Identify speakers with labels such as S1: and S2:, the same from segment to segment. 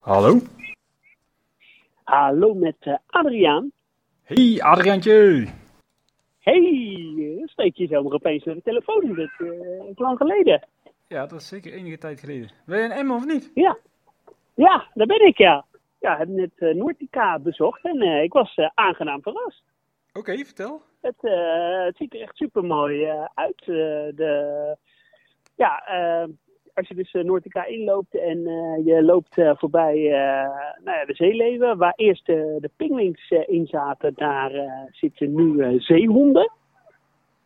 S1: Hallo?
S2: Hallo met eh, Adriaan.
S1: Hey, Adriaantje!
S2: Hey, eh, steek je zomaar opeens naar de telefoon. Dat eh, is lang geleden.
S1: Ja, dat is zeker enige tijd geleden. Ben je in Emmen of niet?
S2: Ja. ja, daar ben ik ja. Ja, heb net eh Noordica bezocht en eh, ik was eh, aangenaam verrast.
S1: Oké, vertel.
S2: Het, eh, het ziet er echt super mooi uit. eh, de, ja, eh, als je dus eh, Noordica inloopt en eh, je loopt eh, voorbij eh, nou ja, de zeeleven, waar eerst eh, de pinguïns eh, in zaten, daar eh, zitten nu eh, zeehonden.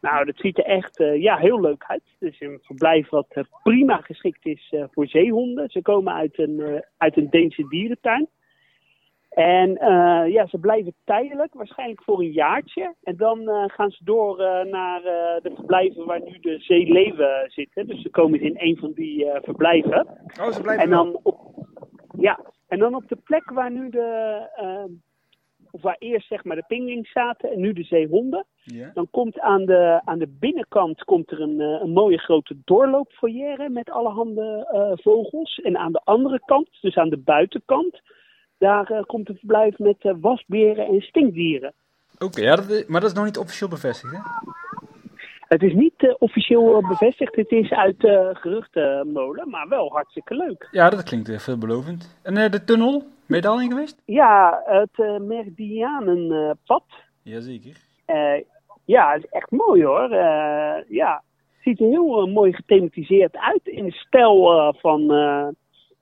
S2: Nou, dat ziet er echt eh, ja, heel leuk uit. Het is een verblijf wat eh, prima geschikt is eh, voor zeehonden. Ze komen uit een, eh, uit een Deense dierentuin. En eh, ja, ze blijven tijdelijk, waarschijnlijk voor een jaartje. En dan eh, gaan ze door eh, naar eh, de verblijven waar nu de zeeleeuwen zitten. Dus ze komen in een van die eh, verblijven.
S1: Oh, ze blijven
S2: En dan op, ja, en dan op de plek waar nu de, eh, of waar eerst zeg maar de pinguïns zaten en nu de zeehonden.
S1: Ja.
S2: Dan komt aan de, aan de binnenkant komt er een, eh, een mooie grote doorloopfoyer met allerhande eh, vogels. En aan de andere kant, dus aan de buitenkant, daar eh, komt een verblijf met eh, wasberen en stinkdieren.
S1: Oké, ja, dat is- maar dat is nog niet officieel bevestigd, hè?
S2: Het is niet eh, officieel eh, bevestigd, het is uit eh geruchtenmolen, maar wel hartstikke leuk.
S1: Ja, dat klinkt eh, veelbelovend. En eh, de tunnel? Ben je daar al in geweest?
S2: Ja, het eh, Meridianenpad.
S1: Jazeker.
S2: Eh, ja, het is echt mooi hoor. Eh, ja, het ziet er heel eh, mooi gethematiseerd uit in de stijl eh, van, eh,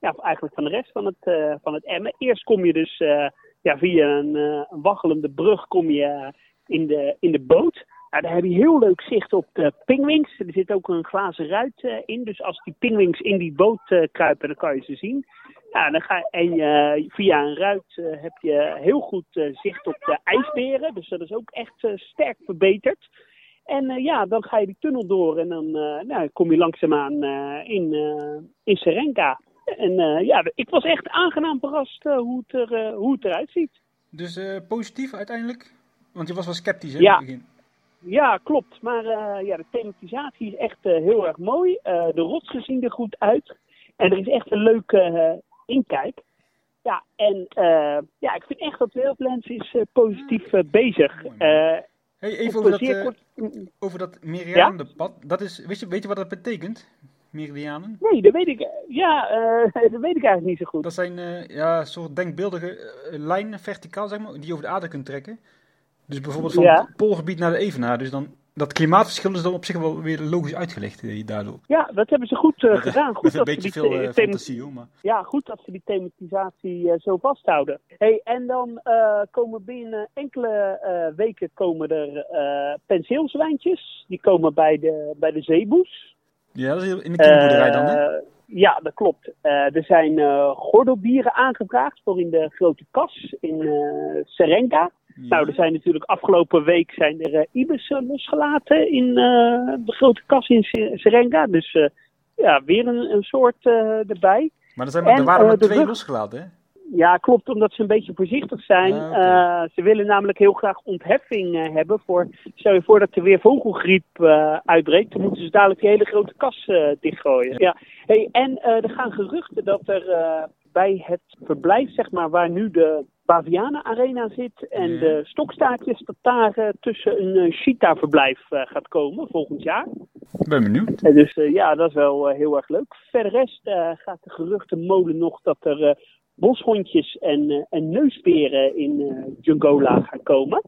S2: ja, eigenlijk van de rest van het, eh, van het Emmen. Eerst kom je dus eh, ja, via een, eh, een waggelende brug kom je eh, in, de, in de boot. Nou, daar heb je heel leuk zicht op de pinguïns. Er zit ook een glazen ruit eh, in. Dus als die pinguïns in die boot eh, kruipen, dan kan je ze zien. Ja, dan ga, en eh, via een ruit eh, heb je heel goed eh, zicht op de ijsberen. Dus dat is ook echt eh, sterk verbeterd. En eh, ja, dan ga je die tunnel door en dan eh, nou, kom je langzaamaan eh in, eh, in Serenka. En eh, ja, ik was echt aangenaam verrast eh, hoe, het er, eh, hoe het eruit ziet.
S1: Dus eh, positief uiteindelijk? Want je was wel sceptisch, hè?
S2: Ja.
S1: in het begin.
S2: Ja, klopt. Maar eh, ja, de thematisatie is echt eh, heel erg mooi. Eh, de rotsen zien er goed uit. En er is echt een leuke eh, inkijk. Ja, en eh, ja, ik vind echt dat Wildlands is eh, positief eh, bezig.
S1: Mooi,
S2: Eh
S1: Hey, even
S2: op
S1: over
S2: een
S1: dat,
S2: zeer
S1: eh,
S2: kort... Mm,
S1: over dat Meridianenpad. Dat is, weet, je, weet je wat dat betekent? Meridianen?
S2: Nee, dat weet ik, eh, ja, eh, dat weet ik eigenlijk niet zo goed.
S1: Dat zijn eh, ja, soort denkbeeldige eh, lijnen, verticaal zeg maar, die je over de aarde kunt trekken. Dus bijvoorbeeld van
S2: Ja.
S1: het poolgebied naar de evenaar. Dus dan, dat klimaatverschil is dan op zich wel weer logisch uitgelegd eh, daardoor.
S2: Ja, dat hebben ze goed eh, gedaan. Goed
S1: Met een
S2: dat ze
S1: beetje
S2: die
S1: veel
S2: the-
S1: eh,
S2: thema-
S1: fantasie hoor, maar...
S2: Ja, goed dat ze die thematisatie eh, zo vasthouden. Hey, en dan eh, komen binnen enkele eh, weken komen er eh penseelzwijntjes. Die komen bij de, bij de zeeboes.
S1: Ja, dat is heel- in de kinderboerderij dan hè?
S2: Eh, ja, dat klopt. Eh, er zijn eh gordelbieren aangevraagd voor in de grote kas in eh Serenka. Nou, er zijn natuurlijk afgelopen week zijn er eh, ibis eh, losgelaten in eh, de grote kas in Ser- Serenka. Dus eh, ja, weer een, een soort eh, erbij.
S1: Maar er, zijn maar, er
S2: en,
S1: waren
S2: eh,
S1: maar
S2: de
S1: twee
S2: rug-
S1: losgelaten hè?
S2: Ja, klopt, omdat ze een beetje voorzichtig zijn.
S1: Ah, oké.
S2: Eh, ze willen namelijk heel graag ontheffing eh, hebben. Voor, stel je voor dat er weer vogelgriep eh, uitbreekt, dan moeten ze dadelijk die hele grote kas eh, dichtgooien. Ja. Hey, en eh, er gaan geruchten dat er eh, bij het verblijf, zeg maar, waar nu de Bavianen Arena zit en
S1: Ja.
S2: de stokstaartjes, dat daar eh, tussen een eh, cheetah-verblijf eh, gaat komen volgend jaar.
S1: Ik ben benieuwd.
S2: Eh, Dus eh, ja, dat is wel eh, heel erg leuk. Verder rest eh, gaat de geruchtenmolen nog dat er eh, boshondjes en, eh, en neusberen in eh Jungola gaan komen.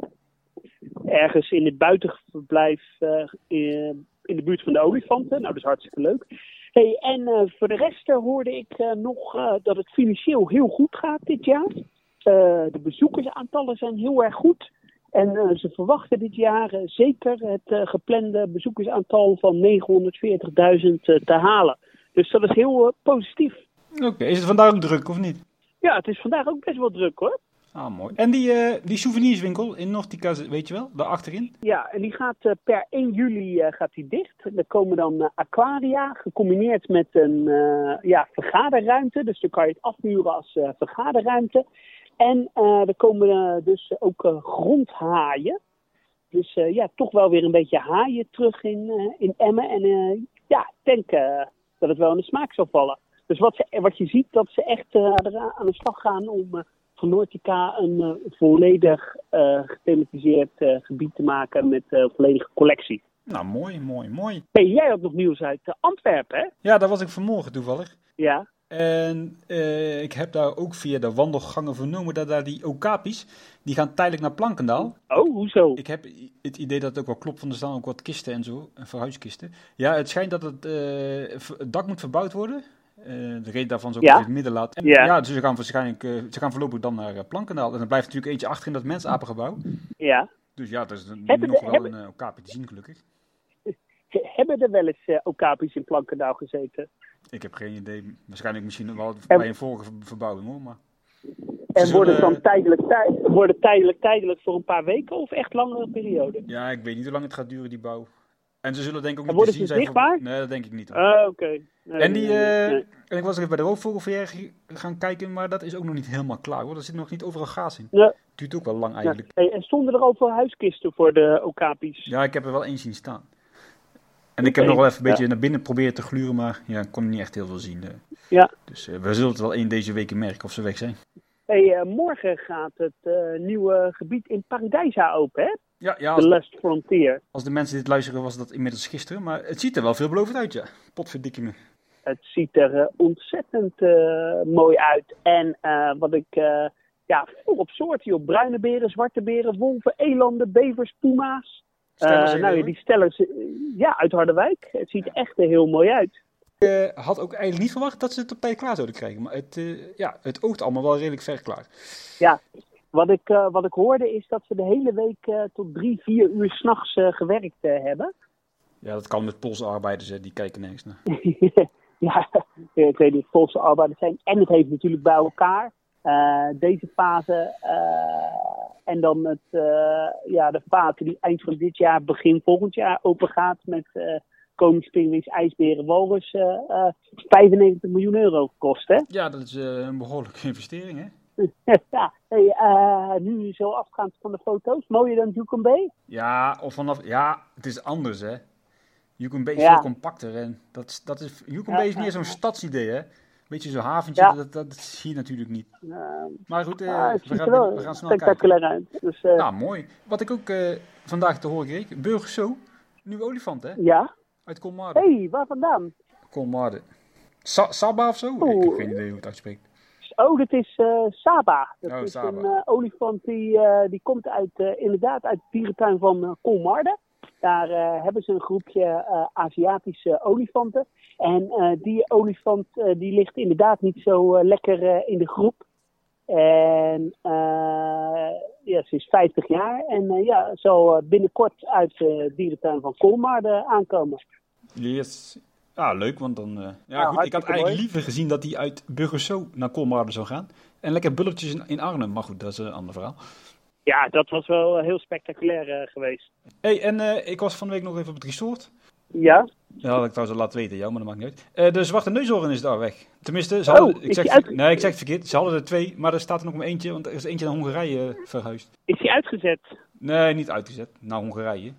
S2: Ergens in het buitenverblijf eh, in, in de buurt van de olifanten. Nou, dat is hartstikke leuk. Hey, en eh, voor de rest eh, hoorde ik eh, nog eh, dat het financieel heel goed gaat dit jaar. Eh, de bezoekersaantallen zijn heel erg goed. En eh, ze verwachten dit jaar eh, zeker het eh, geplande bezoekersaantal van 940.000 eh, te halen. Dus dat is heel eh, positief.
S1: Oké, is het vandaag ook druk of niet?
S2: Ja, het is vandaag ook best wel druk hoor.
S1: Ah, mooi. En die, eh, die souvenirswinkel in Nortica, weet je wel, daar achterin?
S2: Ja, en die gaat eh, per 1 juli eh, gaat die dicht. Er komen dan eh, aquaria, gecombineerd met een eh, ja, vergaderruimte. Dus dan kan je het afhuren als eh, vergaderruimte. En eh, er komen eh, dus ook eh, grondhaaien. Dus eh, ja, toch wel weer een beetje haaien terug in, eh, in Emmen. En eh, ja, ik denk eh, dat het wel in de smaak zal vallen. Dus wat, ze, wat je ziet, dat ze echt eh, eraan- aan de slag gaan om eh, van Noordica een eh, volledig eh, gethematiseerd eh, gebied te maken met eh, volledige collectie.
S1: Nou, mooi, mooi, mooi.
S2: Hey, jij had nog nieuws uit eh, Antwerpen, hè?
S1: Ja, daar was ik vanmorgen toevallig.
S2: Ja.
S1: En eh, ik heb daar ook via de wandelgangen vernomen dat daar die okapis, die gaan tijdelijk naar Plankendaal.
S2: Oh, hoezo?
S1: Ik heb i- het idee dat het ook wel klopt, want er staan ook wat kisten en zo, en verhuiskisten. Ja, het schijnt dat het, eh, v- het dak moet verbouwd worden. Eh, de reden daarvan is ook
S2: Ja.
S1: dat je het midden laat. En, ja.
S2: Ja.
S1: dus ze gaan waarschijnlijk, eh, ze gaan voorlopig dan naar eh, Plankendaal. En dan blijft natuurlijk eentje achter in dat mensapengebouw.
S2: Ja.
S1: Dus ja, dat is een-
S2: Hebben
S1: nog
S2: de-
S1: wel
S2: hebben-
S1: een eh, okaapje te zien, gelukkig.
S2: He- Hebben er wel eens eh okapis in Plankendaal gezeten?
S1: Ik heb geen idee. Waarschijnlijk misschien wel
S2: En-
S1: bij een vorige ver- verbouwing hoor, maar...
S2: En
S1: Ze
S2: worden
S1: zullen-
S2: het dan tijdelijk, tij- worden tijdelijk, tijdelijk voor een paar weken of echt langere periode?
S1: Ja, ik weet niet hoe lang het gaat duren, die bouw. En ze zullen denk ik ook
S2: En
S1: niet te
S2: worden
S1: zien
S2: ze
S1: zijn.
S2: zichtbaar?
S1: Nee, dat denk ik niet. hoor.
S2: Ah, oké. Nee,
S1: en, die,
S2: nee, nee,
S1: eh,
S2: nee.
S1: en ik was nog even bij de roofvogelverjaardag gaan kijken, maar dat is ook nog niet helemaal klaar hoor. Er zit nog niet overal gaas in.
S2: Nee.
S1: Duurt ook wel lang
S2: Ja.
S1: eigenlijk.
S2: Hey, en stonden er overal huiskisten voor de okapis?
S1: Ja, ik heb er wel één zien staan. En ik heb
S2: Oké,
S1: nog wel even een
S2: ja.
S1: beetje naar binnen proberen te gluren, maar ja, ik kon niet echt heel veel zien. eh.
S2: Ja.
S1: Dus eh, we zullen het wel één deze weken merken of ze weg zijn.
S2: Hey, eh, morgen gaat het eh, nieuwe gebied in Paradijsa open, hè?
S1: Ja, ja
S2: De
S1: als,
S2: Last Frontier.
S1: als de mensen dit luisteren was dat inmiddels gisteren, maar het ziet er wel veelbelovend uit ja. Potverdikkie me.
S2: Het ziet er eh, ontzettend eh, mooi uit. En eh, wat ik... eh, ja, veel op soorten, joh. Bruine beren, zwarte beren, wolven, elanden, bevers, puma's. Eh,
S1: Stel eens even,
S2: nou ja,
S1: hoor.
S2: die stellers... eh, ja, uit Harderwijk. Het ziet echt er heel mooi uit.
S1: Ik eh, had ook eigenlijk niet verwacht dat ze het op tijd klaar zouden krijgen. Maar het, eh, ja, het oogt allemaal wel redelijk ver klaar.
S2: Ja, wat ik, eh, wat ik hoorde is dat ze de hele week eh, tot drie, vier uur s'nachts eh gewerkt eh, hebben.
S1: Ja, dat kan met Poolse arbeiders, hè, die kijken nergens naar.
S2: ja, eh, ik weet niet, volse arbeiders zijn. En het heeft natuurlijk bij elkaar eh, deze fase eh, en dan het, eh, ja, de fase die eind van dit jaar, begin volgend jaar open gaat met eh koningspinguïns, ijsberen, walrus, eh, eh, 95 miljoen euro gekost, hè?
S1: Ja, dat is eh, een behoorlijke investering, hè?
S2: ja, hey, eh, nu zo afgaand van de foto's, mooier dan Yukon Bay?
S1: Ja, of vanaf, ja het is anders, hè? Yukon Bay is
S2: Ja.
S1: veel compacter. En dat, is- dat is, Yukon Bay is meer zo'n stadsidee, hè? Beetje zo'n haventje,
S2: Ja.
S1: dat, dat, dat zie je natuurlijk niet.
S2: Eh,
S1: Maar goed, eh,
S2: ja, het
S1: we,
S2: ziet
S1: gaan,
S2: er wel
S1: we gaan snel kijken.
S2: spectaculair uit. Dus, eh,
S1: Nou, mooi. Wat ik ook eh, vandaag te horen kreeg, Burgers Zoo, nieuwe olifant, hè?
S2: ja.
S1: Uit Colmar.
S2: Hé, hey, waar vandaan?
S1: Colmar. Sa Saba of zo? Ik heb
S2: Oeh.
S1: geen idee hoe het uitspreekt.
S2: Oh, dat is eh, Saba. Dat
S1: Oh,
S2: is
S1: Saba.
S2: een eh, olifant die, eh, die komt uit, eh, inderdaad uit de dierentuin van eh, Kolmarden. Daar eh, hebben ze een groepje eh, Aziatische olifanten. En eh, die olifant eh, die ligt inderdaad niet zo eh, lekker eh, in de groep. En eh, ja, ze is 50 jaar en eh, ja, zal eh, binnenkort uit de dierentuin van Kolmarden aankomen.
S1: Yes. Ja, leuk, want dan... eh, ja, goed, ik had
S2: hartstikke
S1: eigenlijk
S2: mooi.
S1: liever gezien dat hij uit Burgerso naar Kolmarden zou gaan. En lekker bulletjes in, in Arnhem. Maar goed, dat is een ander verhaal.
S2: Ja, dat was wel eh, heel spectaculair eh, geweest.
S1: hey, en eh, ik was van de week nog even op het resort.
S2: Ja?
S1: Ja, had ik trouwens al laten weten, jou, maar dat maakt niet uit. Eh, de zwarte neushoorn is daar weg. Tenminste, ze
S2: Oh,
S1: hadden... ik
S2: is
S1: zeg,
S2: die
S1: het-
S2: uit-
S1: Nee, ik zeg het verkeerd. Ze hadden er twee, maar er staat er nog maar eentje. Want er is eentje naar Hongarije eh, verhuisd.
S2: Is die uitgezet?
S1: Nee, niet uitgezet. Naar Hongarije.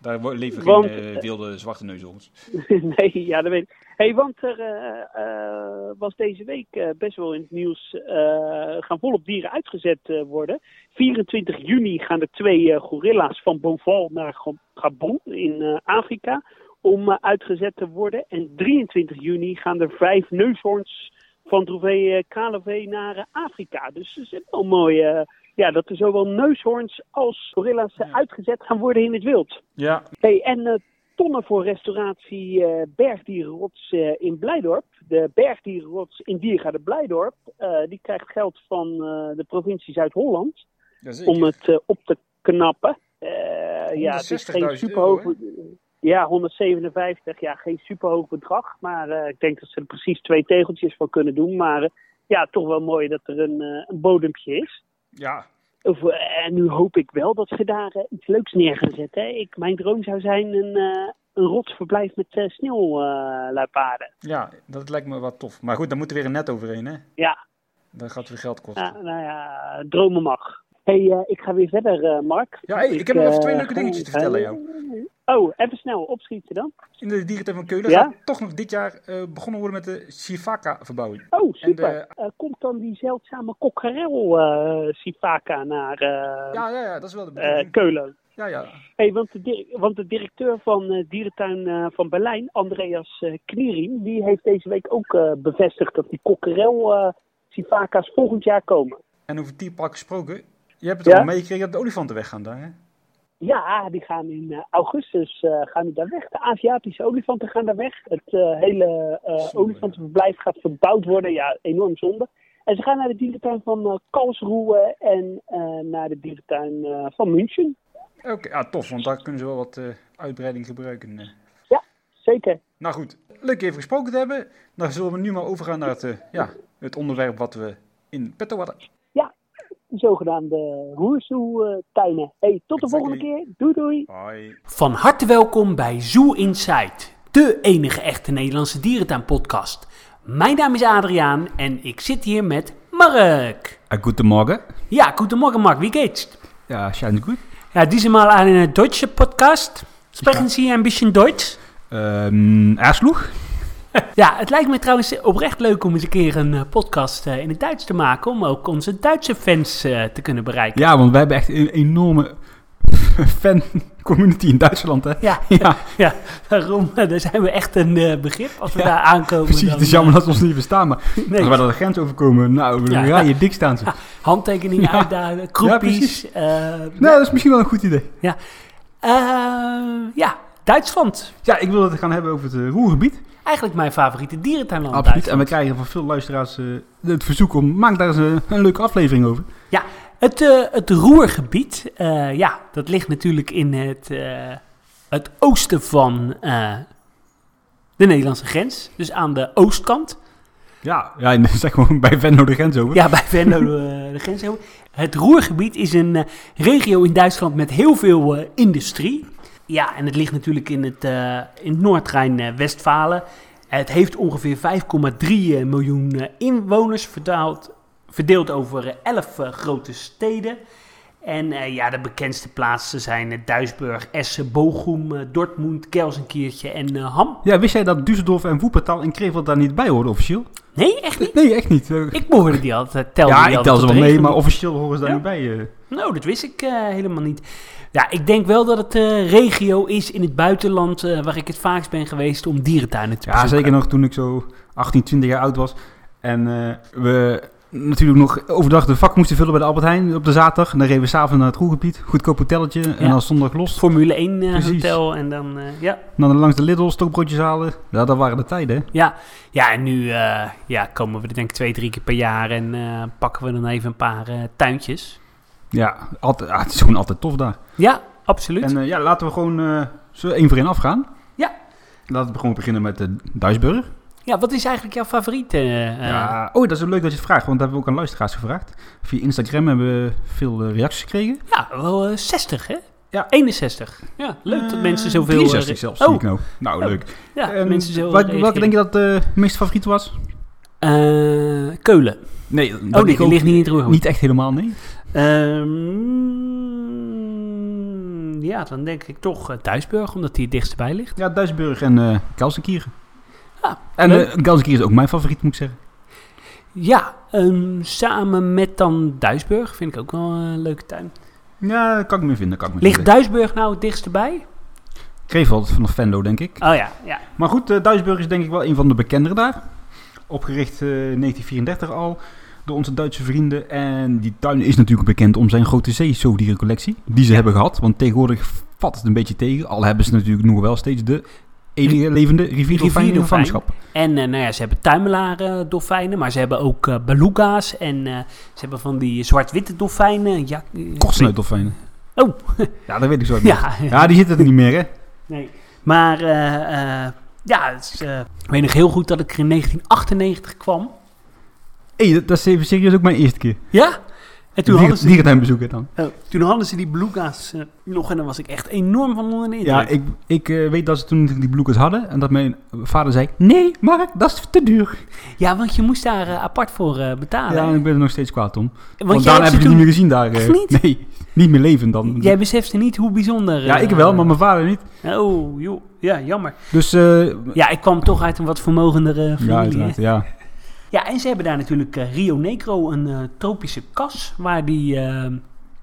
S1: Daar wo- leven
S2: Want-
S1: geen eh, wilde zwarte neushoorns.
S2: nee, ja, dat weet ik. Hey, want er eh, eh, was deze week eh, best wel in het nieuws. eh, gaan volop dieren uitgezet eh, worden. 24 juni gaan de twee eh, gorilla's van Bonval naar Gab- Gabon in eh, Afrika. om eh, uitgezet te worden. En 23 juni gaan er vijf neushoorns van Trouvé eh, KLV naar eh, Afrika. Dus het is wel mooi. eh, ja, dat er zowel neushoorns als gorilla's eh,
S1: Ja.
S2: uitgezet gaan worden in het wild.
S1: Ja,
S2: Hey, en eh, tonnen voor restauratie eh, Bergdierenrots eh, in Blijdorp. De Bergdierenrots in Diergaarde Blijdorp, eh, die krijgt geld van eh, de provincie Zuid-Holland
S1: jazeker.
S2: om het eh, op te knappen. Eh, ja, het is
S1: 160.000
S2: geen superhoog...
S1: euro,
S2: Ja, 157, ja, geen superhoog bedrag. Maar eh, ik denk dat ze er precies twee tegeltjes van kunnen doen. Maar eh, ja, toch wel mooi dat er een, eh, een bodempje is.
S1: Ja,
S2: Of, eh, en nu hoop ik wel dat ze daar eh, iets leuks neer gaan zetten. hè. Ik, mijn droom zou zijn een, eh een rotsverblijf met eh sneeuwluipaarden.
S1: ja, dat lijkt me wat tof. Maar goed, daar moet er weer een net overheen, hè?
S2: ja,
S1: Dat gaat weer geld kosten.
S2: nou,
S1: Ja,
S2: nou ja, dromen mag. hey, eh, ik ga weer verder, eh, Mark.
S1: hey, ik, heb nog
S2: eh,
S1: even twee leuke
S2: ga-
S1: dingetjes te
S2: ga-
S1: vertellen jou.
S3: Oh, even snel opschieten dan.
S1: In de dierentuin van Keulen
S3: Ja?
S1: gaat toch nog dit jaar eh, begonnen worden met de Shivaka-verbouwing.
S3: Oh, super.
S1: En
S3: Eh, komt dan die zeldzame kokkerel eh Sivaka naar eh,
S1: Ja, ja, ja, dat is wel de
S3: eh,
S1: bedoeling.
S3: Keulen?
S1: ja, ja.
S3: Hey, want, de dir- want de directeur van eh Dierentuin eh, van Berlijn, Andreas eh Knieriem, die heeft deze week ook eh, bevestigd dat die kokkerel eh Sivaka's volgend jaar komen.
S1: En over dierpark gesproken. Je hebt het
S3: Ja?
S1: al meegekregen dat de olifanten weggaan daar, hè?
S3: Ja, die gaan in eh, augustus eh, gaan die daar weg. De Aziatische olifanten gaan daar weg. Het eh, hele eh,
S1: Zonde, ja.
S3: olifantenverblijf gaat verbouwd worden. Ja, enorm zonde. En ze gaan naar de dierentuin van eh Karlsruhe en eh, naar de dierentuin eh, van München.
S1: Oké, ja, tof, want daar kunnen ze wel wat eh, uitbreiding gebruiken. eh.
S3: Zeker.
S1: Nou goed, leuk even gesproken te hebben. Dan zullen we nu maar overgaan naar het, eh, ja, het onderwerp wat we in petto hadden.
S3: De zogenaamde Roersoe-tuinen. Hey, tot de
S1: Exactly.
S3: volgende keer. Doei doei.
S1: Hoi.
S2: Van harte welkom bij Zoo Insight, de enige echte Nederlandse dierentuinpodcast. Mijn naam is Adriaan en ik zit hier met Mark.
S4: Ah, guten Morgen.
S2: Ja, goedemorgen Mark, wie geht's?
S4: Ja, scheint gut.
S2: Ja, diese Mal eine deutsche Podcast. Sprechen Sie ein bisschen Deutsch?
S4: Ähm, Erschluch?
S2: Ja, het lijkt me trouwens oprecht leuk om eens een keer een eh, podcast eh, in het Duits te maken. Om ook onze Duitse fans eh, te kunnen bereiken.
S4: Ja, want wij hebben echt een enorme fan-community in Duitsland, hè?
S2: Ja,
S4: Ja,
S2: ja daarom eh, daar zijn we echt een eh, begrip als we daar aankomen.
S4: precies.
S2: dan, eh,
S4: Het is jammer dat ze ons niet verstaan, maar
S2: Nee.
S4: als wij door de grens overkomen, nou,
S2: Ja.
S4: dan ga je dik staan ze.
S2: eh, Handtekeningen
S4: Ja.
S2: uitdagen, kroepies.
S4: precies.
S2: eh,
S4: Nou, dat is misschien wel een goed idee.
S2: ja. Eh, ja, Duitsland.
S4: Ja, ik wil het gaan hebben over het eh, Roergebied.
S2: Eigenlijk mijn favoriete dierentuinland.
S4: Absoluut. En
S2: Oh, Duitsland.
S4: we krijgen van veel luisteraars eh, het verzoek om, maak daar eens eh, een leuke aflevering over.
S2: Ja, het, eh, het Roergebied, eh, ja, dat ligt natuurlijk in het, eh, het oosten van eh, de Nederlandse grens. Dus aan de oostkant.
S4: Ja, ja en zeg gewoon bij Venlo de grens over.
S2: Ja, bij Venlo eh, de grens. heel. Het Roergebied is een eh, regio in Duitsland met heel veel eh, industrie. Ja, en het ligt natuurlijk in het, eh in Noord-Rijn-Westfalen. het heeft ongeveer 5,3 miljoen eh, inwoners, verdeeld, verdeeld over eh, 11 eh, grote steden. En eh, ja, de bekendste plaatsen zijn eh, Duisburg, Essen, Bochum, eh, Dortmund, Kelsenkiertje en eh, Ham.
S4: Ja, wist jij dat Düsseldorf en Woepertal en Krevel daar niet bij horen officieel?
S2: Nee, echt niet.
S4: Nee, echt niet. Eh,
S2: Ik behoorde die altijd. Telde
S4: ja,
S2: die
S4: ik
S2: altijd
S4: tel ze
S2: tot
S4: wel
S2: de
S4: mee,
S2: regio.
S4: maar officieel horen ze daar
S2: Ja.
S4: niet bij. eh.
S2: Nou, dat wist ik eh, helemaal niet. Ja, ik denk wel dat het eh, regio is in het buitenland eh, waar ik het vaakst ben geweest om dierentuinen te
S4: Ja,
S2: bezoeken.
S4: zeker nog toen ik zo 18, 20 jaar oud was. En eh, we natuurlijk nog overdag de vak moesten vullen bij de Albert Heijn op de zaterdag. En dan reden we s'avonds naar het Roergebied. Goedkoop hotelletje.
S2: Ja.
S4: En dan zondag los.
S2: Formule 1 eh,
S4: Precies.
S2: hotel en dan, eh, ja.
S4: En dan langs de Lidl stokbroodjes halen. Ja, dat waren de tijden. hè.
S2: ja. Ja, en nu eh, ja, komen we er denk ik twee, drie keer per jaar en eh, pakken we dan even een paar eh, tuintjes.
S4: Ja, altijd, ja, het is gewoon altijd tof daar.
S2: Ja, absoluut.
S4: En eh, ja, laten we gewoon eh, zo één voor één afgaan.
S2: Ja.
S4: Laten we gewoon beginnen met eh, Duisburg.
S2: Ja, wat is eigenlijk jouw favoriete? eh, eh,
S4: Ja. Oh, dat is wel leuk dat je het vraagt, want dat hebben we ook aan luisteraars gevraagd. Via Instagram hebben we veel eh, reacties gekregen.
S2: ja, wel eh, 60 hè?
S4: Ja.
S2: 61. Ja, leuk dat
S4: Eh,
S2: mensen zoveel... eh,
S4: 63 zelfs,
S2: oh,
S4: zie ik nou. Nou,
S2: Oh.
S4: leuk.
S2: Ja,
S4: Ehm,
S2: mensen zoveel
S4: welk-
S2: reageren.
S4: welke denk je dat de meest favoriet was?
S2: Eh, Keulen.
S4: Nee,
S2: Oh nee, die ligt niet in het roergebied.
S4: Niet echt helemaal, nee.
S2: Ehm, ja, dan denk ik toch eh, Duisburg, omdat die het dichtstbij ligt.
S4: Ja, Duisburg en eh Gelsenkirchen.
S2: Ja,
S4: en
S2: Ah, leuk.
S4: eh Gelsenkirchen is ook mijn favoriet, moet ik zeggen.
S2: Ja, ehm, samen met dan Duisburg vind ik ook wel een eh, leuke tuin.
S4: Ja, kan ik me vinden, kan ik me
S2: Ligt
S4: vinden.
S2: Duisburg nou het dichtstbij?
S4: Krefeld vanaf Venlo, denk ik.
S2: Oh ja, ja.
S4: Maar goed, eh, Duisburg is denk ik wel een van de bekendere daar. Opgericht eh, 1934 al door onze Duitse vrienden. En die tuin is natuurlijk bekend om zijn grote zeezoogdierencollectie. Die ze hebben gehad, want tegenwoordig vat het een beetje tegen. Al hebben ze natuurlijk nog wel steeds de enige levende rivierdolfijn in
S2: Rivierdolfijn.
S4: gevangenschap.
S2: En eh, nou ja, ze hebben tuimelaren eh, dolfijnen, maar ze hebben ook eh beluga's en eh, ze hebben van die zwart-witte dolfijnen. Ja, eh,
S4: Kortsnuitdolfijnen.
S2: Oh.
S4: Ja, dat weet ik zo niet.
S2: Ja,
S4: Ja, die zitten er niet meer, hè?
S2: Nee. Maar eh, eh, ja, het is, eh, ik weet nog heel goed dat ik er in 1998 kwam.
S4: Hé, dat, dat is even serieus ook mijn eerste keer.
S2: Ja? En toen hadden,
S4: Dier,
S2: ze,
S4: dierentuin bezoeken dan.
S2: oh, toen hadden ze die beluga's eh, nog en daar was ik echt enorm van onder de indruk.
S4: Ja, ik, ik eh, weet dat ze toen die bloekers hadden en dat mijn vader zei... Nee, Mark, dat is te duur.
S2: Ja, want je moest daar eh, apart voor eh, betalen.
S4: ja, en ik ben er nog steeds kwaad om.
S2: want
S4: Want
S2: jij
S4: daarna
S2: hebt
S4: heb
S2: ze
S4: ik die
S2: toen...
S4: niet meer gezien daar. eh.
S2: Echt niet?
S4: Nee. niet meer leven dan.
S2: Jij besefte niet hoe bijzonder...
S4: ja,
S2: eh,
S4: ik wel, maar mijn vader niet.
S2: Oh, joh. Ja, jammer.
S4: Dus eh,
S2: Ja, ik kwam toch uit een wat vermogendere
S4: ja,
S2: familie. hè.
S4: uiteraard, ja.
S2: Ja, en ze hebben daar natuurlijk eh, Rio Negro, een eh, tropische kas waar die eh,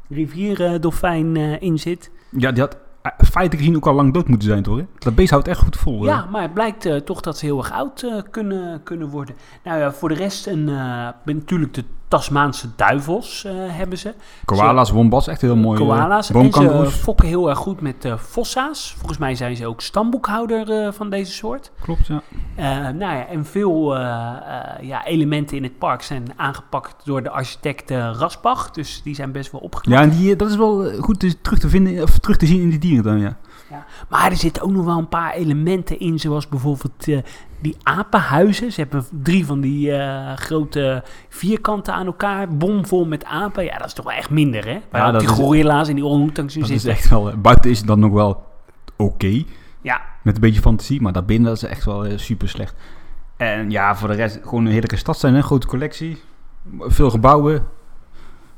S2: rivierdolfijn eh, in zit.
S4: Ja, die had eh, feitelijk gezien ook al lang dood moeten zijn, toch? hè? Dat beest houdt echt goed vol.
S2: Ja, maar het blijkt eh, toch dat ze heel erg oud eh, kunnen, kunnen worden. Nou ja, voor de rest een, eh, natuurlijk de Tasmaanse duivels eh, hebben ze.
S4: Koala's, wombats, echt heel mooi. eh,
S2: Koala's. En ze
S4: Boomkangoeroes.
S2: fokken heel erg goed met eh, fossa's. Volgens mij zijn ze ook stamboekhouder eh, van deze soort.
S4: Klopt, ja.
S2: Eh, nou ja, en veel eh, eh, ja, elementen in het park zijn aangepakt door de architect eh, Rasbach. Dus die zijn best wel opgeknapt.
S4: Ja, en die, eh, dat is wel eh, goed te- terug te vinden, of terug te zien in die dierentuin, ja.
S2: Maar er zitten ook nog wel een paar elementen in, zoals bijvoorbeeld eh, die apenhuizen. Ze hebben drie van die eh, grote vierkanten aan elkaar, bomvol met apen. Ja, dat is toch wel echt minder, hè? Waar
S4: Ja,
S2: ook
S4: dat
S2: die
S4: is-
S2: gorilla's en die orangutans in
S4: Dat is
S2: zitten.
S4: echt wel, eh, buiten is het dan nog wel oké,
S2: Ja,
S4: met een beetje fantasie, maar daarbinnen is het echt wel eh, super slecht. En ja, voor de rest gewoon een heerlijke stad zijn, hè? grote collectie, veel gebouwen.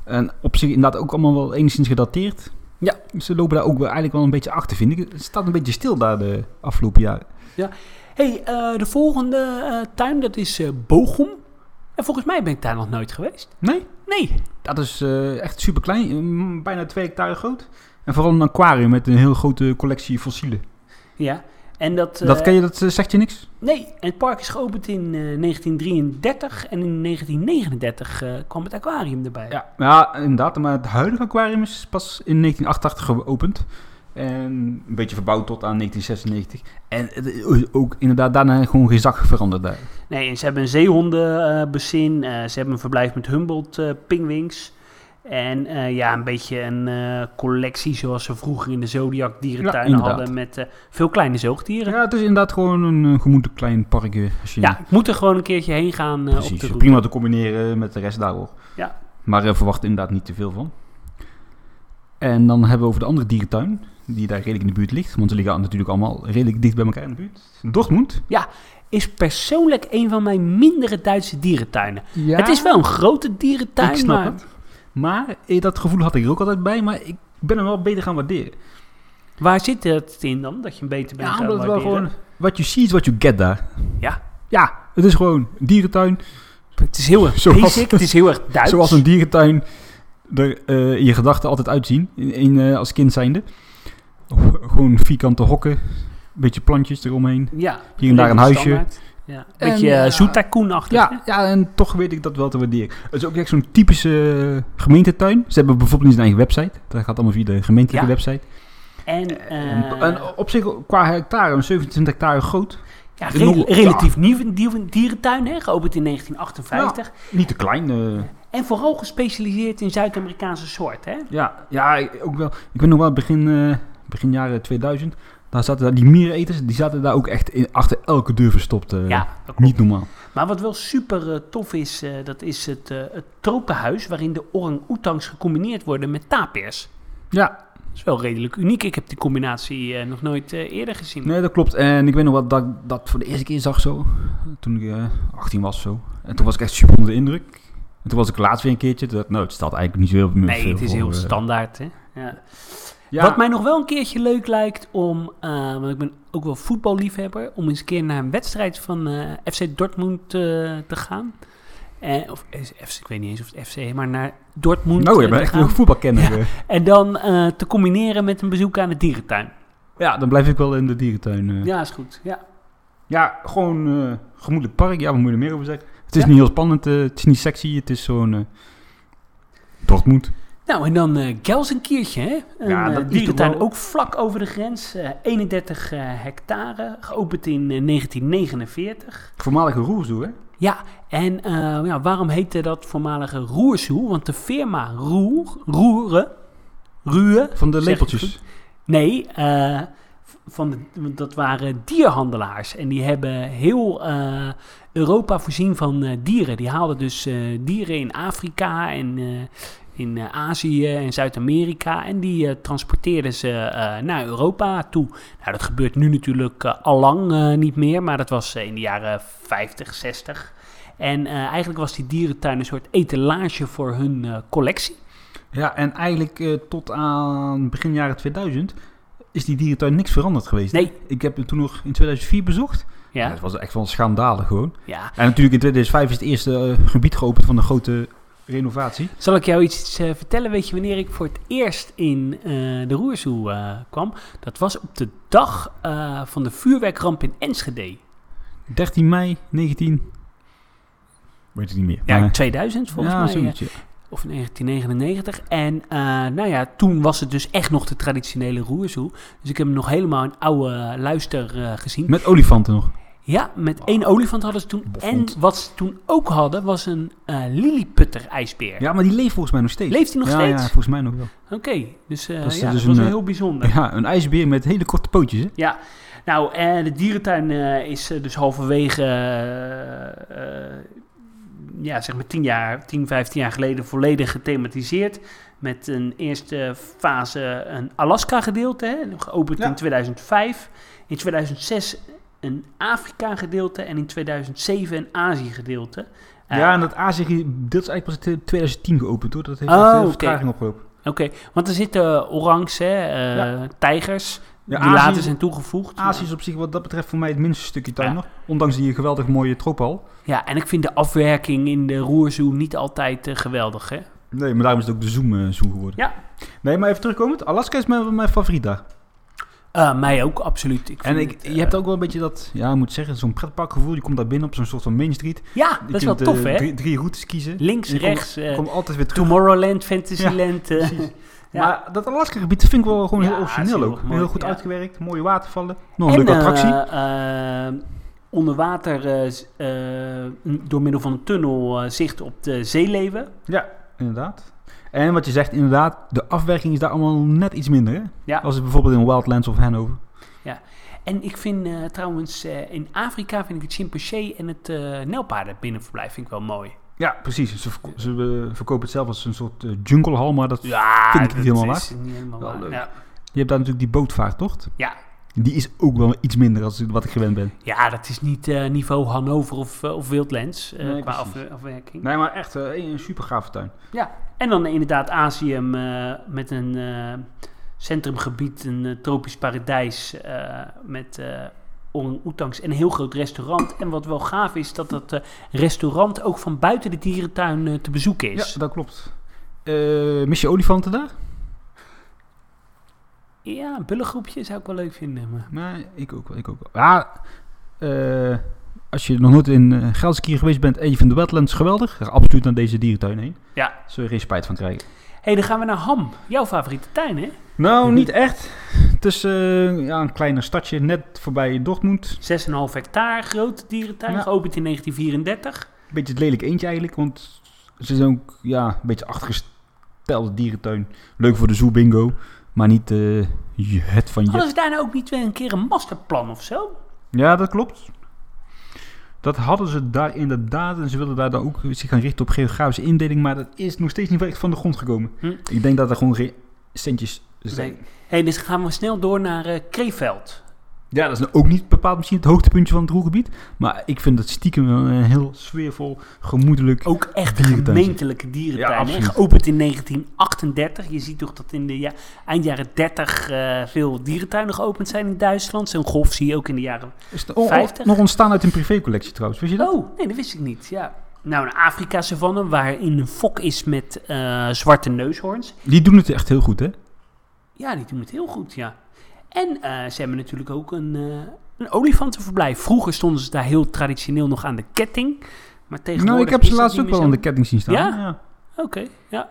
S4: En op zich inderdaad ook allemaal wel enigszins gedateerd.
S2: Ja.
S4: Ze lopen daar ook wel eigenlijk wel een beetje achter, vind ik. Het staat een beetje stil daar de afgelopen jaren.
S2: hey, eh, de volgende eh, tuin, dat is eh Bochum. En volgens mij ben ik daar nog nooit geweest.
S4: Nee?
S2: Nee,
S4: Dat is eh, echt super klein, mm, bijna twee hectare groot. En vooral een aquarium met een heel grote collectie fossielen.
S2: ja. En dat, eh,
S4: dat ken je, dat eh, zegt je niks?
S2: Nee, en het park is geopend in eh, 1933 en in 1939 eh, kwam het aquarium erbij.
S4: Ja. ja, inderdaad. Maar het huidige aquarium is pas in 1988 geopend. En een beetje verbouwd tot aan 1996. En het is ook inderdaad daarna gewoon geen zak veranderd daar.
S2: Nee, en ze hebben een zeehondenbassin, ze hebben een verblijf met Humboldt eh pingwings. En eh, ja, een beetje een eh, collectie zoals ze vroeger in de Zodiac dierentuin
S4: Ja, inderdaad.
S2: hadden met eh, veel kleine zoogdieren. Ja.
S4: Ja, het is inderdaad gewoon een eh, gemoedelijk klein parkje. Als je
S2: ik moet er gewoon een keertje heen gaan eh, op
S4: Precies,
S2: de route.
S4: prima te combineren met de rest daar hoor.
S2: Ja.
S4: Maar eh, verwacht inderdaad niet te veel van. En dan hebben we over de andere dierentuin, die daar redelijk in de buurt ligt. Want ze liggen natuurlijk allemaal redelijk dicht bij elkaar in de buurt. Dortmund.
S2: Is persoonlijk een van mijn mindere Duitse dierentuinen.
S4: Ja,
S2: Het is wel een grote dierentuin,
S4: ik snap
S2: maar
S4: het. Maar eh, dat gevoel had ik er ook altijd bij, maar ik ben hem wel beter gaan waarderen.
S2: waar zit het in dan dat je hem beter bent
S4: Ja,
S2: gaan
S4: omdat het wel
S2: waarderen?
S4: gewoon... What you see is what you get daar.
S2: Ja.
S4: Ja, het is gewoon dierentuin,
S2: Het is heel erg
S4: Zoals-
S2: basic, het is heel erg Duits.
S4: Zoals een dierentuin er eh, in je gedachten altijd uitzien, in, in, eh, als kind zijnde. Of eh, gewoon vierkante hokken, een beetje plantjes eromheen.
S2: ja,
S4: hier en daar een huisje.
S2: standaard. Ja, een beetje
S4: En,
S2: uh,
S4: ja.
S2: zoetakoenachtig.
S4: Ja, ja, en toch weet ik dat wel te waarderen. Het is ook echt zo'n typische eh, gemeentetuin. Ze hebben bijvoorbeeld niet zijn eigen website. Dat gaat allemaal via de gemeentelijke
S2: Ja.
S4: website.
S2: En,
S4: En,
S2: eh,
S4: en op zich qua hectare, een 27 hectare groot.
S2: ja,
S4: de
S2: re-
S4: nog-
S2: relatief nieuw een dier- een dierentuin, hè, geopend in 1958.
S4: Niet te klein. eh,
S2: En vooral gespecialiseerd in Zuid-Amerikaanse soorten. Hè?
S4: ja, ja ik- ook wel. Ik weet nog wel begin, eh, begin jaren 2000. Daar zaten daar, die miereneters, die zaten daar ook echt in, achter elke deur verstopt. eh,
S2: ja, dat klopt.
S4: Niet normaal.
S2: Maar wat wel super eh, tof is, eh, dat is het, eh, het tropenhuis waarin de orang-oetangs gecombineerd worden met tapirs.
S4: Ja,
S2: Dat is wel redelijk uniek. Ik heb die combinatie eh, nog nooit eh, eerder gezien.
S4: nee, dat klopt. En ik weet nog wat dat ik dat voor de eerste keer zag zo. Toen ik eh, 18 was zo. En toen was ik echt super onder de indruk. En toen was ik laatst weer een keertje. Toen dacht ik, nou, het staat eigenlijk niet zo heel meer
S2: Nee,
S4: veel
S2: het is
S4: voor,
S2: heel
S4: eh,
S2: standaard. Hè? Ja.
S4: ja,
S2: Wat mij nog wel een keertje leuk lijkt om, eh, want ik ben ook wel voetballiefhebber, om eens een keer naar een wedstrijd van eh, FC Dortmund eh, te gaan. Eh, of is FC, ik weet niet eens of het FC, maar naar Dortmund
S4: Nou, je
S2: eh,
S4: bent
S2: te
S4: echt
S2: gaan.
S4: een voetbalkenner.
S2: Ja.
S4: eh.
S2: En dan eh, te combineren met een bezoek aan de dierentuin.
S4: Ja, dan blijf ik wel in de dierentuin. eh. Ja.
S2: Ja, is goed. Ja.
S4: gewoon eh gemoedelijk park. Ja, wat moet je er meer over zeggen? Het is
S2: Ja.
S4: niet heel spannend. eh, het is niet sexy. Het is zo'n... eh Dortmund.
S2: Nou, en dan eh Gels een keertje, hè? Een
S4: Ja,
S2: eh,
S4: dat is
S2: dierentuin
S4: wel-
S2: ook vlak over de grens. eh, 31 eh, hectare, geopend in eh, 1949.
S4: Voormalige roerzoe, hè?
S2: Ja, en eh, ja, waarom heette dat voormalige Roersoe? Want de firma Roer, Roeren, Ruwe,
S4: Van de
S2: Zeg ik
S4: lepeltjes.
S2: goed? nee, eh, van de- want dat waren dierhandelaars. En die hebben heel eh, Europa voorzien van eh, dieren. Die haalden dus eh, dieren in Afrika en eh, in eh, Azië en Zuid-Amerika. En die eh, transporteerden ze eh, naar Europa toe. Nou, dat gebeurt nu natuurlijk eh, allang eh, niet meer, maar dat was eh, in de jaren 50, 60. En eh, eigenlijk was die dierentuin een soort etalage voor hun eh, collectie.
S4: Ja, en eigenlijk eh, tot aan begin jaren 2000 is die dierentuin niks veranderd geweest.
S2: Nee.
S4: Ik heb hem toen nog in 2004 bezocht. Ja.
S2: Ja,
S4: dat was echt wel schandalig gewoon.
S2: ja.
S4: En natuurlijk in 2005 is het eerste eh, gebied geopend van de grote renovatie.
S2: Zal ik jou iets eh, vertellen? Weet je wanneer ik voor het eerst in eh, de Roersoe eh, kwam? Dat was op de dag eh, van de vuurwerkramp in Enschede.
S4: 13 mei 19... Weet het niet meer.
S2: Ja,
S4: maar-
S2: 2000 volgens
S4: ja,
S2: mij. eh,
S4: zoiets, ja.
S2: Of 1999. En eh, nou ja, toen was het dus echt nog de traditionele roerzoe. Dus ik heb hem nog helemaal een oude luister eh, gezien.
S4: Met olifanten nog.
S2: Ja, met één olifant hadden ze toen.
S4: Bofond.
S2: En wat ze toen ook hadden, was een eh lilliputter-ijsbeer.
S4: Ja, maar die leeft volgens mij nog steeds.
S2: Leeft hij nog
S4: ja,
S2: steeds?
S4: Ja, volgens mij nog wel.
S2: Oké, dus eh,
S4: Dat is
S2: ja,
S4: dus
S2: dat was
S4: een,
S2: wel
S4: eh,
S2: heel bijzonder.
S4: Ja, een ijsbeer met hele korte pootjes. Hè?
S2: Ja, nou, eh, de dierentuin eh, is eh, dus halverwege, eh, eh, ja, zeg maar 10, jaar, 10, 15 jaar geleden volledig gethematiseerd. Met een eerste fase een Alaska-gedeelte, hè, geopend
S4: Ja.
S2: in 2005. In 2006 een Afrika-gedeelte en in 2007 een Azië-gedeelte. Eh,
S4: ja, en dat Azië-gedeelte is eigenlijk pas in 2010 geopend hoor. Dat heeft
S2: Oh,
S4: echt heel veel
S2: oké.
S4: vertraging opgelopen.
S2: Oké, want er zitten orangs, hè, eh, tijgers,
S4: Ja,
S2: die
S4: Azië-
S2: later zijn toegevoegd.
S4: Azië is op zich wat dat betreft voor mij het minste stukje tuin
S2: Ja.
S4: nog. Ondanks die geweldig mooie trophal.
S2: Ja, en ik vind de afwerking in de roerzoe niet altijd eh, geweldig, hè.
S4: Nee, maar daarom is het ook de Zoom eh, Zoom geworden.
S2: Ja.
S4: Nee, maar even terugkomend. Alaska is mijn, mijn favoriet daar.
S2: Eh, mij ook, absoluut. Ik
S4: En
S2: vind
S4: ik,
S2: het, eh,
S4: je hebt ook wel een beetje dat, ja, ik moet zeggen, zo'n pretparkgevoel. Je komt daar binnen op zo'n soort van main street.
S2: Ja,
S4: Je
S2: dat is wel
S4: kunt, eh,
S2: tof, hè?
S4: Drie, drie routes kiezen.
S2: Links,
S4: je komt-
S2: rechts, eh,
S4: Ik kom altijd weer terug.
S2: Tomorrowland, Fantasyland. eh, ja.
S4: Maar dat Alaska-gebied vind ik wel gewoon
S2: Ja,
S4: heel
S2: het
S4: origineel
S2: is heel
S4: ook.
S2: mooi,
S4: heel goed
S2: ja.
S4: uitgewerkt, mooie watervallen. eh, Nog een
S2: en,
S4: leuke attractie.
S2: eh, eh, onder water, eh, z- eh, n- door middel van een tunnel, eh, zicht op de zeeleven.
S4: Ja, inderdaad. En wat je zegt, inderdaad, de afwerking is daar allemaal net iets minder. Hè?
S2: Ja.
S4: Als het bijvoorbeeld in Wildlands of Hanover.
S2: En ik vind eh, trouwens, eh, in Afrika vind ik het chimpansee en het eh nijlpaarden binnenverblijf vind ik wel mooi.
S4: Ja, precies. Ze, verko- ze eh, verkopen het zelf als een soort eh, junglehal, maar dat,
S2: Ja,
S4: Vind ik niet helemaal
S2: is niet helemaal
S4: Wel
S2: waar.
S4: leuk.
S2: Ja.
S4: je hebt daar natuurlijk die bootvaarttocht.
S2: Ja.
S4: Die is ook wel iets minder als wat ik gewend ben.
S2: Ja, dat is niet eh, niveau Hannover of, eh, of Wildlands eh,
S4: Nee,
S2: qua
S4: precies.
S2: afwe- afwerking.
S4: Nee, maar echt eh, een super gave tuin.
S2: En dan inderdaad Azië eh, met een eh, centrumgebied, een eh, tropisch paradijs eh, met eh orang-oetangs en een heel groot restaurant. En wat wel gaaf is, dat dat eh, restaurant ook van buiten de dierentuin eh, te bezoeken is.
S4: Ja, dat klopt. Eh, mis je olifanten daar?
S2: Ja, een bullengroepje zou ik wel leuk vinden. Maar...
S4: Nee, ik ook wel. Ik ook wel. Ja, eh, als je nog nooit in eh, Gelsenkirchen geweest bent en je vindt de wetlands geweldig, ga absoluut naar deze dierentuin heen.
S2: Ja.
S4: Zul je geen spijt van krijgen.
S2: hey, dan gaan we naar Ham. Jouw favoriete tuin, hè?
S4: Nou, niet echt. Het is eh, ja, een kleiner stadje, net voorbij Dortmund.
S2: 6,5 hectare grote dierentuin,
S4: Ja.
S2: geopend in 1934.
S4: Beetje het lelijk eentje eigenlijk, want ze is ook ja, een beetje achtergestelde dierentuin. Leuk voor de zoo bingo, maar niet eh, je- het van je.
S2: Hadden ze daar nou ook niet weer een keer een masterplan of zo?
S4: Ja, dat klopt. Dat hadden ze daar inderdaad. En ze wilden daar dan ook zich gaan richten op geografische indeling. Maar dat is nog steeds niet echt van de grond gekomen.
S2: Hm.
S4: Ik denk dat er gewoon geen centjes zijn.
S2: Nee. hey, dus gaan we snel door naar eh Kreeveld.
S4: Ja, dat is nou ook niet bepaald misschien het hoogtepuntje van het roergebied. Maar ik vind dat stiekem wel een heel sfeervol, gemoedelijk...
S2: Ook echt een
S4: Dierentuintje.
S2: gemeentelijke
S4: Ja,
S2: dierentuin. hè?
S4: absoluut.
S2: Geopend in 1938. Je ziet toch dat in de ja, eind jaren 30 eh, veel dierentuinen geopend zijn in Duitsland. Zo'n golf zie je ook in de jaren...
S4: Is het on- on-
S2: 50?
S4: nog ontstaan uit een privécollectie trouwens, wist je dat?
S2: Oh, nee, dat wist ik niet. Ja. Nou, een Afrika-savanne waarin een fok is met eh, zwarte neushoorns.
S4: Die doen het echt heel goed, hè?
S2: Ja, die doen het heel goed, ja. En eh, ze hebben natuurlijk ook een, eh, een olifantenverblijf. Vroeger stonden ze daar heel traditioneel nog aan de ketting. Maar tegenwoordig
S4: Nou, ik heb ze
S2: is dat
S4: laatst
S2: niet
S4: ook wel aan
S2: meer
S4: de ketting zien staan.
S2: Ja? zo. Oké, ja.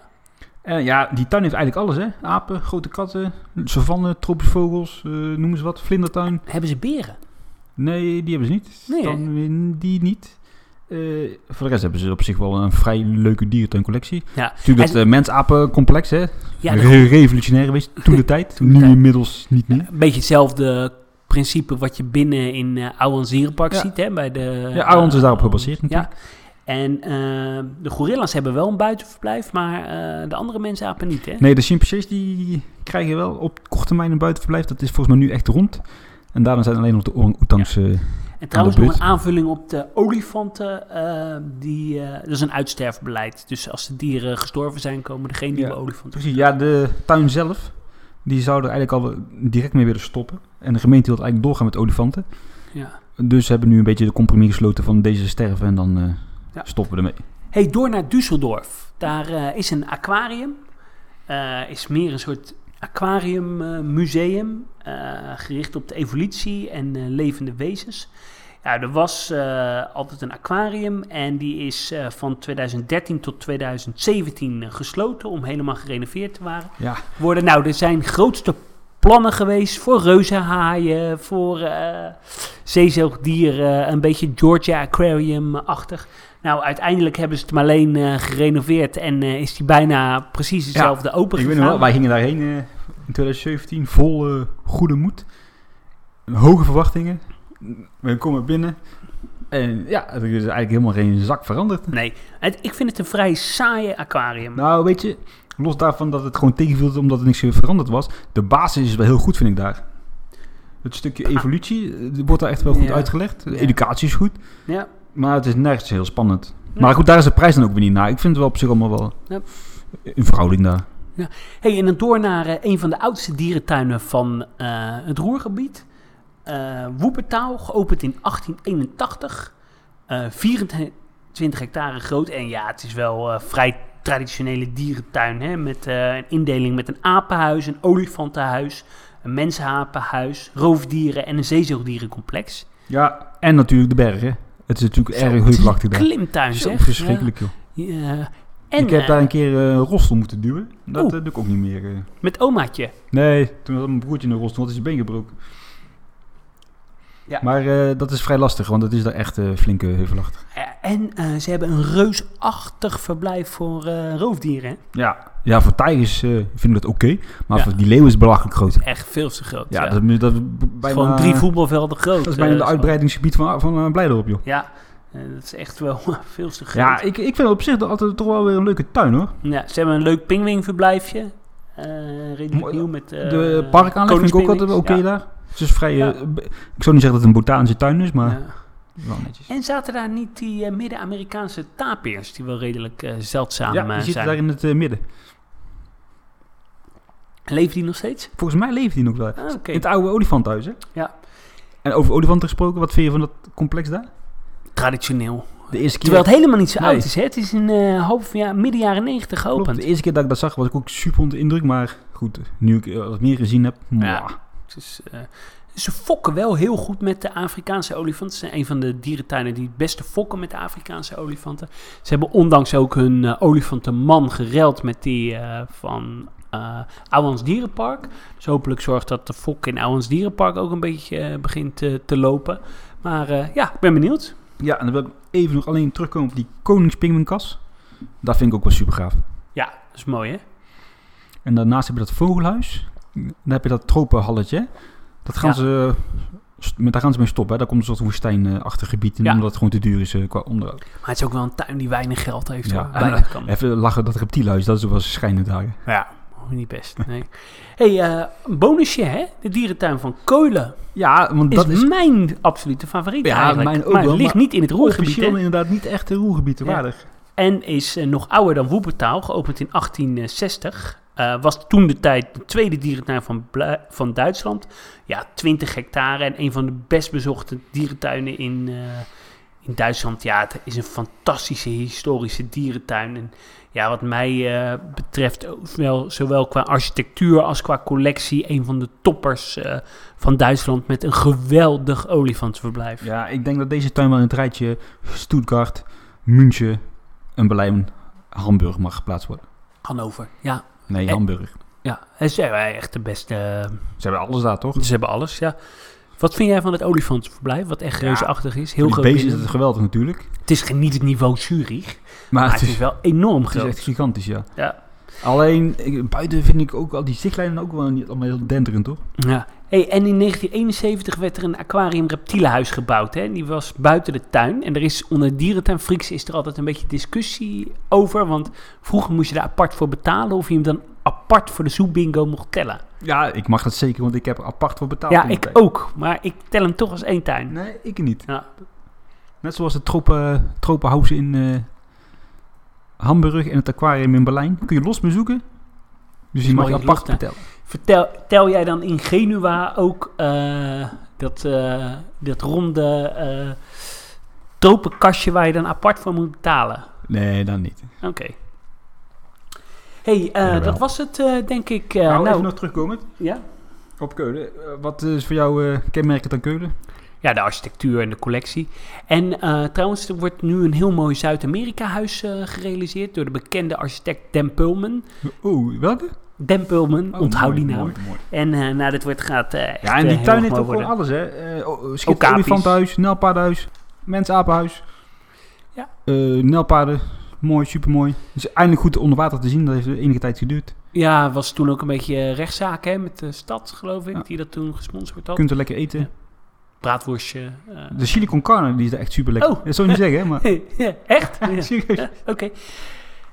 S4: Eh, ja, die tuin heeft eigenlijk alles, hè? Apen, grote katten, savannen, tropische vogels, eh, noem eens wat, vlindertuin.
S2: Hebben ze beren?
S4: Nee, die hebben ze niet.
S2: Nee, hè?
S4: Dan win die niet. Eh, voor de rest hebben ze op zich wel een vrij leuke dierentuincollectie.
S2: Ja.
S4: Natuurlijk dat
S2: En-
S4: eh, mens-apencomplex, hè?
S2: Ja, dat-
S4: Re- revolutionair geweest toen de tijd.
S2: de
S4: nu
S2: tijd.
S4: inmiddels niet meer.
S2: een beetje hetzelfde principe wat je binnen in eh Ouan Zierenpark
S4: Ja.
S2: ziet. Hè, bij de,
S4: Ja, Ouans is daarop
S2: eh,
S4: gebaseerd
S2: Ja.
S4: natuurlijk.
S2: En eh, de gorilla's hebben wel een buitenverblijf, maar eh, de andere mensen apen niet, hè?
S4: Nee, de chimpansees die krijgen wel op korte termijn een buitenverblijf. Dat is volgens mij nu echt rond. En daarom zijn alleen nog de orang-oetangs. eh,
S2: En trouwens nog
S4: but.
S2: een aanvulling op de olifanten. eh, die, eh, dat is een uitsterfbeleid. Dus als de dieren gestorven zijn, komen er geen
S4: Ja.
S2: nieuwe olifanten.
S4: Precies, ja, de tuin zelf, die zou er eigenlijk al direct mee willen stoppen. En de gemeente wil eigenlijk doorgaan met olifanten.
S2: Ja.
S4: Dus ze hebben nu een beetje de compromis gesloten van deze sterven en dan eh,
S2: Ja.
S4: stoppen we ermee.
S2: Hey, door naar Düsseldorf. Daar eh, is een aquarium. Eh, is meer een soort aquariummuseum. eh, gericht op de evolutie en eh, levende wezens. Ja, er was eh, altijd een aquarium en die is eh, van 2013 tot 2017 gesloten om helemaal gerenoveerd te waren-
S4: Ja,
S2: worden. Nou, er zijn grootste plannen geweest voor reuzenhaaien, voor eh, zeezoogdieren, een beetje Georgia Aquarium-achtig. Nou, uiteindelijk hebben ze het maar alleen eh, gerenoveerd en eh, is die bijna precies hetzelfde open
S4: ik weet nog
S2: gegaan.
S4: wel, wij gingen daarheen eh, in 2017 vol eh, goede moed. Hoge verwachtingen. We komen binnen. En ja, er is eigenlijk helemaal geen zak veranderd.
S2: Nee, het- ik vind het een vrij saaie aquarium.
S4: Nou, weet je, los daarvan dat het gewoon tegenviel omdat er niks veranderd was. De basis is wel heel goed, vind ik daar. Het stukje evolutie eh, wordt daar echt wel goed
S2: Ah. Ja.
S4: uitgelegd. De
S2: Ja.
S4: educatie is goed.
S2: Ja.
S4: Maar het is nergens heel spannend.
S2: Ja.
S4: Maar goed, daar is de prijs dan ook weer niet naar. Ik vind het wel op zich allemaal wel
S2: Ja.
S4: een verhouding daar.
S2: Hey, en dan door naar eh, een van de oudste dierentuinen van eh, het Roergebied. Eh Woepertaal, geopend in 1881. eh 24 hectare groot. En ja, het is wel eh, vrij traditionele dierentuin. Hè? Met eh, een indeling met een apenhuis, een olifantenhuis, een mensapenhuis, roofdieren en een zeezoogdierencomplex.
S4: Ja, en natuurlijk de bergen. Het is natuurlijk
S2: Zo,
S4: erg
S2: het is een
S4: heuvelachtig daar.
S2: Klimtuin,
S4: Zo
S2: zeg.
S4: verschrikkelijk, joh.
S2: Ja. Ja. En
S4: ik heb
S2: eh,
S4: daar een keer eh rolstoel moeten duwen. Dat
S2: Oeh.
S4: eh, doe ik ook niet meer. eh.
S2: met omaatje.
S4: Nee, toen had mijn broertje een rolstoel, want hij is zijn been gebroken.
S2: Ja.
S4: Maar eh, dat is vrij lastig, want het is daar echt eh, flinke heuvelachtig.
S2: Ja, En eh, ze hebben een reusachtig verblijf voor eh, roofdieren. hè?
S4: Ja, ja voor tijgers eh vinden we dat oké, maar
S2: Ja.
S4: voor die leeuw is het belachelijk groot.
S2: Echt veel te groot.
S4: Ja,
S2: Ja,
S4: dat, is- dat is bijna,
S2: Gewoon drie voetbalvelden groot.
S4: Dat is bijna
S2: eh,
S4: het
S2: zo.
S4: uitbreidingsgebied van, van eh, Blijdorp, joh.
S2: Ja, eh, dat is echt wel veel te groot.
S4: Ja,
S2: Ja,
S4: ik, ik vind op zich dat altijd toch wel weer een leuke tuin, hoor.
S2: ze hebben een leuk pinguïnverblijfje. eh redelijk
S4: Mooi.
S2: nieuw met... eh,
S4: de parkaanleg vind ik ook altijd wel oké
S2: koningspinguïns.
S4: daar. Het is vrij...
S2: Ja.
S4: eh, b- ik zou niet zeggen dat het een botanische tuin is,
S2: Ja,
S4: maar
S2: ja.
S4: wel netjes.
S2: En zaten daar niet die eh, Midden-Amerikaanse tapirs, die wel redelijk eh, zeldzaam
S4: Ja,
S2: eh,
S4: die zitten
S2: zijn?
S4: daar in het eh, midden.
S2: Leven die nog steeds?
S4: Volgens mij leeft die nog daar.
S2: Ah, Oké.
S4: In het oude olifanthuis, hè?
S2: Ja.
S4: En over olifanten gesproken, wat vind je van dat complex daar?
S2: Traditioneel.
S4: De eerste keer,
S2: Terwijl het helemaal niet zo
S4: Nee.
S2: oud is. Hè? Het is in eh, half, ja, midden jaren negentig
S4: Klopt,
S2: geopend.
S4: de eerste keer dat ik dat zag was ik ook super onder de indruk, maar goed, nu ik eh, wat meer gezien heb, mwah.
S2: Dus, eh, ze fokken wel heel goed met de Afrikaanse olifanten. Ze zijn een van de dierentuinen die het beste fokken met de Afrikaanse olifanten. Ze hebben ondanks ook hun eh, olifantenman gereld met die eh, van eh Ouwans Dierenpark. Dus hopelijk zorgt dat de fok in Ouwans Dierenpark ook een beetje eh, begint eh, te lopen. Maar eh, ja, ik ben benieuwd.
S4: Ja, en dan wil ik even nog alleen terugkomen op die koningspingwinkas. Dat vind ik ook wel super gaaf.
S2: Ja, dat is mooi hè?
S4: En daarnaast heb je dat vogelhuis. Dan heb je dat tropenhalletje. hè. Dat gaan
S2: Ja.
S4: ze, st- met- daar gaan ze mee stoppen. Hè. Daar komt een soort woestijnachtig gebied in,
S2: Ja.
S4: omdat het gewoon te duur is eh, qua onderhoud.
S2: Maar het is ook wel een tuin die weinig geld heeft.
S4: Ja.
S2: hoor. Weinig kan.
S4: Even lachen, dat reptielhuis, dat is wel schijnend daar.
S2: Ja, niet best. Nee. hey, eh, een bonusje hè? De dierentuin van Keulen.
S4: Ja, want
S2: is,
S4: dat is
S2: mijn absolute favoriet
S4: Ja,
S2: eigenlijk.
S4: mijn ook
S2: maar
S4: wel,
S2: het ligt
S4: maar
S2: niet in het Roergebied.
S4: officieel
S2: hè.
S4: inderdaad niet echt een roergebied
S2: Ja.
S4: waardig.
S2: En is eh, nog ouder dan Woepertaal, geopend in 1860. Eh, was toen de tijd de tweede dierentuin van, Bla- van Duitsland. Ja, 20 hectare en een van de best bezochte dierentuinen in, eh, in Duitsland. Ja, het is een fantastische historische dierentuin. En ja, wat mij eh, betreft, ook wel, zowel qua architectuur als qua collectie, een van de toppers eh, van Duitsland met een geweldig olifantenverblijf.
S4: Ja, ik denk dat deze tuin wel in het rijtje Stuttgart, München en Berlijn, Hamburg mag geplaatst worden.
S2: Hannover, ja.
S4: Nee,
S2: Eh.
S4: Hamburg.
S2: Ja, en ze hebben echt de beste... eh,
S4: Ze hebben alles daar, toch?
S2: Ze hebben alles, ja. Wat vind jij van het olifantenverblijf, wat echt
S4: Ja,
S2: reuzeachtig is? Heel
S4: Heel
S2: groot.
S4: beest is
S2: binnen-
S4: het geweldig natuurlijk.
S2: Het is geen- niet het niveau Zurich,
S4: Maar
S2: maar
S4: het is,
S2: wel enorm
S4: het is
S2: groot.
S4: echt gigantisch, ja.
S2: Ja.
S4: Alleen, ik- buiten vind ik ook al die zichtlijnen ook wel niet allemaal heel denderend, toch?
S2: Ja. Hey, en in 1971 werd er een aquarium reptielenhuis gebouwd. Hè? En Die was buiten de tuin. En er is onder dierentuin Frieks is er altijd een beetje discussie over. Want vroeger moest je daar apart voor betalen of je hem dan apart apart voor de zoekbingo mocht tellen.
S4: Ja, ik mag dat zeker, want ik heb er apart voor betaald.
S2: ja,
S4: toen
S2: ik
S4: de tijd.
S2: ook. Maar ik tel hem toch als één tuin.
S4: Nee, ik niet.
S2: Ja.
S4: Net zoals het tropen, tropenhaus in eh, Hamburg en het aquarium in Berlijn. Kun je los bezoeken. Dus die
S2: mag
S4: mag je
S2: je los,
S4: apart
S2: hè?
S4: vertellen.
S2: Vertel, tel jij dan in Genua ook eh, dat, eh, dat ronde eh tropenkastje waar je dan apart voor moet betalen?
S4: Nee, dan niet.
S2: Oké. hey, eh,
S4: Jawel.
S2: dat was het eh, denk ik. eh,
S4: nou,
S2: nou,
S4: even nog terugkomend
S2: ja?
S4: op Keulen. Eh, wat is voor jou eh, kenmerkend aan Keulen?
S2: ja, de architectuur en de collectie. En eh, trouwens, er wordt nu een heel mooi Zuid-Amerika-huis eh, gerealiseerd door de bekende architect Dan Pullman.
S4: Oeh, welke?
S2: Dan Pullman,
S4: Oh,
S2: onthoud
S4: mooi,
S2: die naam.
S4: mooi, mooi.
S2: En eh, nou, dit wordt gaat eh, echt,
S4: Ja, en
S2: eh,
S4: die
S2: heel
S4: tuin
S2: erg
S4: heeft ook
S2: mooi
S4: gewoon
S2: worden.
S4: alles, hè. Eh oh, oh,
S2: Ook
S4: schitterend
S2: aapjes.
S4: olifantenhuis, nijlpaardenhuis, mensapenhuis.
S2: Ja.
S4: Eh, nijlpaarden, mooi, supermooi. Dus eindelijk goed onder water te zien, dat heeft enige tijd geduurd.
S2: Ja, was toen ook een beetje rechtszaak hè, met de stad, geloof ik,
S4: Ja.
S2: die dat toen gesponsord
S4: Je
S2: had.
S4: kunt er lekker eten.
S2: Ja. Braadworstje. eh.
S4: De chili con carne, die is daar echt super lekker.
S2: Oh.
S4: Dat zou je niet zeggen, hè, maar...
S2: Ja, Echt? Ja.
S4: Serieus.
S2: Ja, Oké.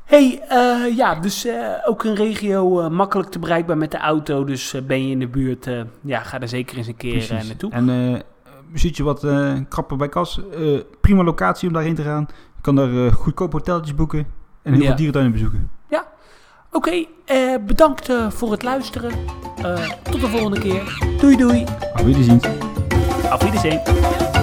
S2: Hey, eh, ja, dus eh, ook een regio eh, makkelijk te bereikbaar met de auto. Dus eh, ben je in de buurt, eh, ja, ga er zeker eens een keer eh,
S4: Precies.
S2: naartoe.
S4: En eh zit je wat eh, krapper bij kas. eh, prima locatie om daarheen te gaan. Je kan daar eh, goedkoop hoteltjes boeken. En heel
S2: Ja.
S4: veel dierentuinen bezoeken.
S2: Oké, eh, bedankt eh, voor het luisteren. Eh, tot de volgende keer. Doei doei.
S4: Auf Wiedersehen.
S2: Auf Wiedersehen.